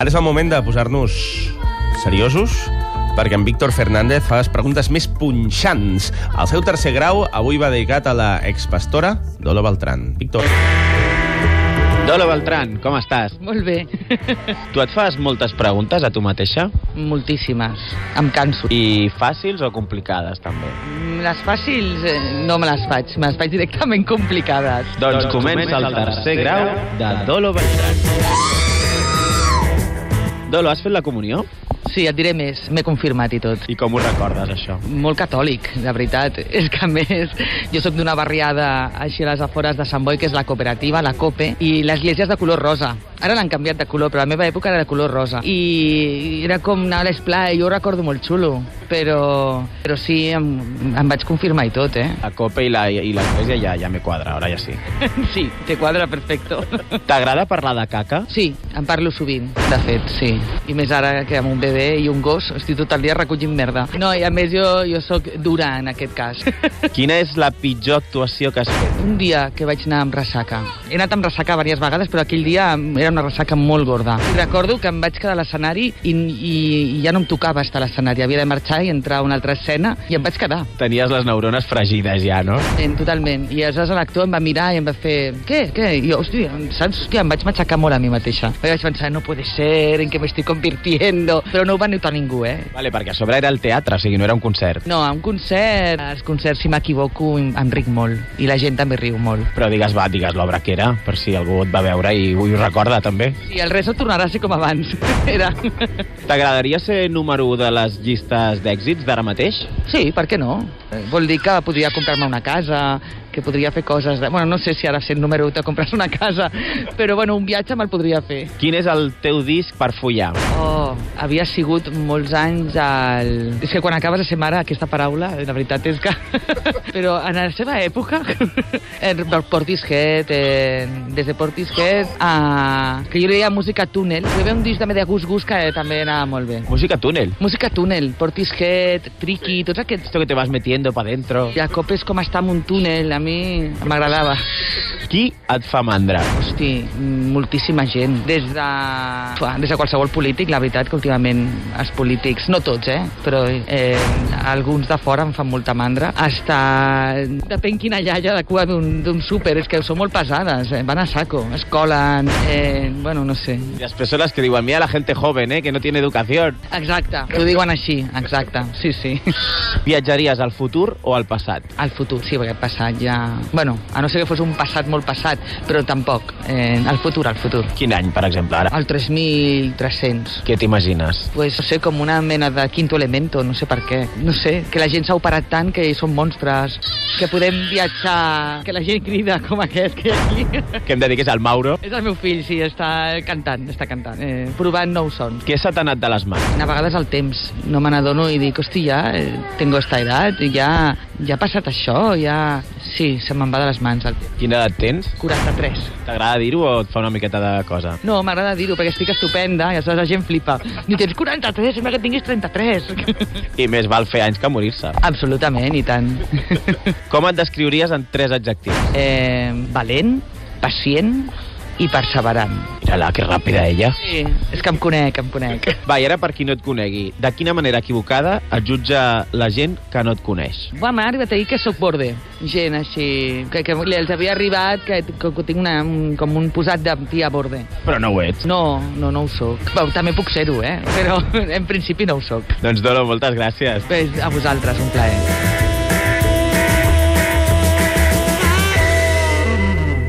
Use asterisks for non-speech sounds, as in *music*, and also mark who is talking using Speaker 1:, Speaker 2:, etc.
Speaker 1: Ara és el moment de posar-nos seriosos, perquè en Víctor Fernández fa les preguntes més punxants. El seu tercer grau avui va dedicat a la expastora Dolo Beltrán. Víctor.
Speaker 2: Dolo Beltran, com estàs?
Speaker 3: Molt bé.
Speaker 2: Tu et fas moltes preguntes a tu mateixa?
Speaker 3: *laughs* Moltíssimes. Em canso.
Speaker 2: I fàcils o complicades, també?
Speaker 3: Mm, Les fàcils eh, no me les faig, me les faig directament complicades.
Speaker 2: Doncs, comença el tercer grau de Dolo Beltran. Dolo, has fet la comunió?
Speaker 3: Sí, et diré més, m'he confirmat i tot.
Speaker 2: I com ho recordes, això?
Speaker 3: Molt catòlic, de veritat. *laughs* És que, a més, jo sóc d'una barriada així a les afores de Sant Boi, que és la cooperativa, la COPE, i l'església és de color rosa. Ara l'han canviat de color, però a la meva època era de color rosa. I era com anar a l'esplai, jo ho recordo molt xulo, però, però sí, em, em vaig confirmar i tot, eh?
Speaker 2: La copa i la, i l'església ja, ja me quadra, ara ja sí.
Speaker 3: *laughs* Sí, te quadra perfecto.
Speaker 2: T'agrada parlar de caca?
Speaker 3: Sí, en parlo sovint, de fet, sí. I més ara que amb un bebè i un gos estic tot el dia recollint merda. No, i a més jo, jo sóc dura en aquest cas.
Speaker 2: Quina és la pitjor actuació que has fet?
Speaker 3: un dia que vaig anar amb ressaca. He anat amb ressaca diverses vegades, però aquell dia era una ressaca molt gorda. I recordo que em vaig quedar a l'escenari i, i, i ja no em tocava estar a l'escenari. Havia de marxar i entrar a una altra escena i em vaig quedar.
Speaker 2: Tenies les neurones fregides ja, no?
Speaker 3: En, totalment. I aleshores l'actor em va mirar i em va fer... Què? Què? I jo, hòstia, em- saps? Hòstia, em vaig matxacar molt a mi mateixa. Perquè vaig pensar, no puede ser, en què m'estic convirtiendo. Però no ho va notar ningú, eh?
Speaker 2: Vale, perquè a sobre era el teatre, o sigui, no era un concert.
Speaker 3: No, a un concert, als concerts, si m'equivoco, em em ric molt. I la gent també riu molt.
Speaker 2: Però digues, va, digues l'obra que era, per si algú et va veure i ho recorda, també.
Speaker 3: I el resto tornarà a ser com abans. *laughs* Era...
Speaker 2: T'agradaria ser número 1 de les llistes d'èxits d'ara mateix?
Speaker 3: Sí, per què no? Eh, Vol dir que podria comprar-me una casa, que podria fer coses... De... Bueno, no sé si ara sent número 1 te compres una casa, però bueno, un viatge me'l podria fer.
Speaker 2: Quin és el teu disc per follar?
Speaker 3: Oh, havia sigut molts anys al... És que quan acabes de ser mare, aquesta paraula, la veritat és que... *laughs* Però en la seva època, *laughs* en Portishead, en... des de Portishead, a... que jo li deia música túnel, hi havia un disc també de Gus Gus que també anava molt bé.
Speaker 2: Música túnel.
Speaker 3: Música túnel, Portishead, Tricky, tots aquests
Speaker 2: Esto que te vas metiendo pa dentro.
Speaker 3: I a cop és com estar en un túnel, a mi m'agradava.
Speaker 2: Qui et fa mandra?
Speaker 3: Hosti, moltíssima gent. Des de... Fa, Des de qualsevol polític, la veritat que últimament els polítics, no tots, eh? Però eh, alguns de fora em fan molta mandra. Hasta... Depèn quina iaia de cua d'un d'un súper, és que són molt pesades, eh? van a saco, es colen, eh, bueno, no sé.
Speaker 2: I després són les que diuen, mira la gente joven, eh, que no tiene educación.
Speaker 3: Exacte, ho diuen així, exacte, sí, sí.
Speaker 2: Viatjaries al futur o al passat?
Speaker 3: al futur, sí, perquè el passat ja... Bueno, a no ser que fos un passat molt passat, però tampoc. Eh, el futur, el futur.
Speaker 2: Quin any, per exemple, ara? Ah,
Speaker 3: El 3300.
Speaker 2: Què t'imagines?
Speaker 3: Pues, no sé, com una mena de quinto elemento, no sé per què. No sé, que la gent s'ha operat tant que són monstres, que podem viatjar, que la gent crida com aquest que hi ha aquí. *laughs*
Speaker 2: Que em dediques al Mauro?
Speaker 3: És el meu fill, sí, està cantant, està cantant, eh, provant nous sons.
Speaker 2: Què s'ha t'anat de les mans?
Speaker 3: A vegades el temps, no me n'adono i dic, hosti, ja eh, tengo esta edat, i ja, ja ha passat això, ja... Sí, se me'n va de les mans el temps.
Speaker 2: Quina edat tens?
Speaker 3: 43.
Speaker 2: T'agrada dir-ho o et fa una miqueta de cosa?
Speaker 3: No, m'agrada dir-ho, perquè estic estupenda, i aleshores la gent flipa. Diu, tens 43, sembla que tinguis *laughs* 33.
Speaker 2: I més val fer anys que morir-se.
Speaker 3: Absolutament, i tant.
Speaker 2: Com et descriuries en tres adjectius?
Speaker 3: eh, valent, pacient i perseverant.
Speaker 2: Mira-la, que ràpida ella.
Speaker 3: Sí. És que em conec, em conec.
Speaker 2: Va, i ara per qui no et conegui, de quina manera equivocada et jutja la gent que no et coneix?
Speaker 3: Va, m'ha arribat a dir que sóc borde. Gent així, que, que li- els havia arribat que, que, que tinc una, un, com un posat de tia borde.
Speaker 2: Però no ho ets.
Speaker 3: No, no, no ho sóc. Però, també puc ser-ho, eh? Però en principi no ho sóc.
Speaker 2: Doncs Dolo, moltes gràcies.
Speaker 3: Bé, a vosaltres, un plaer.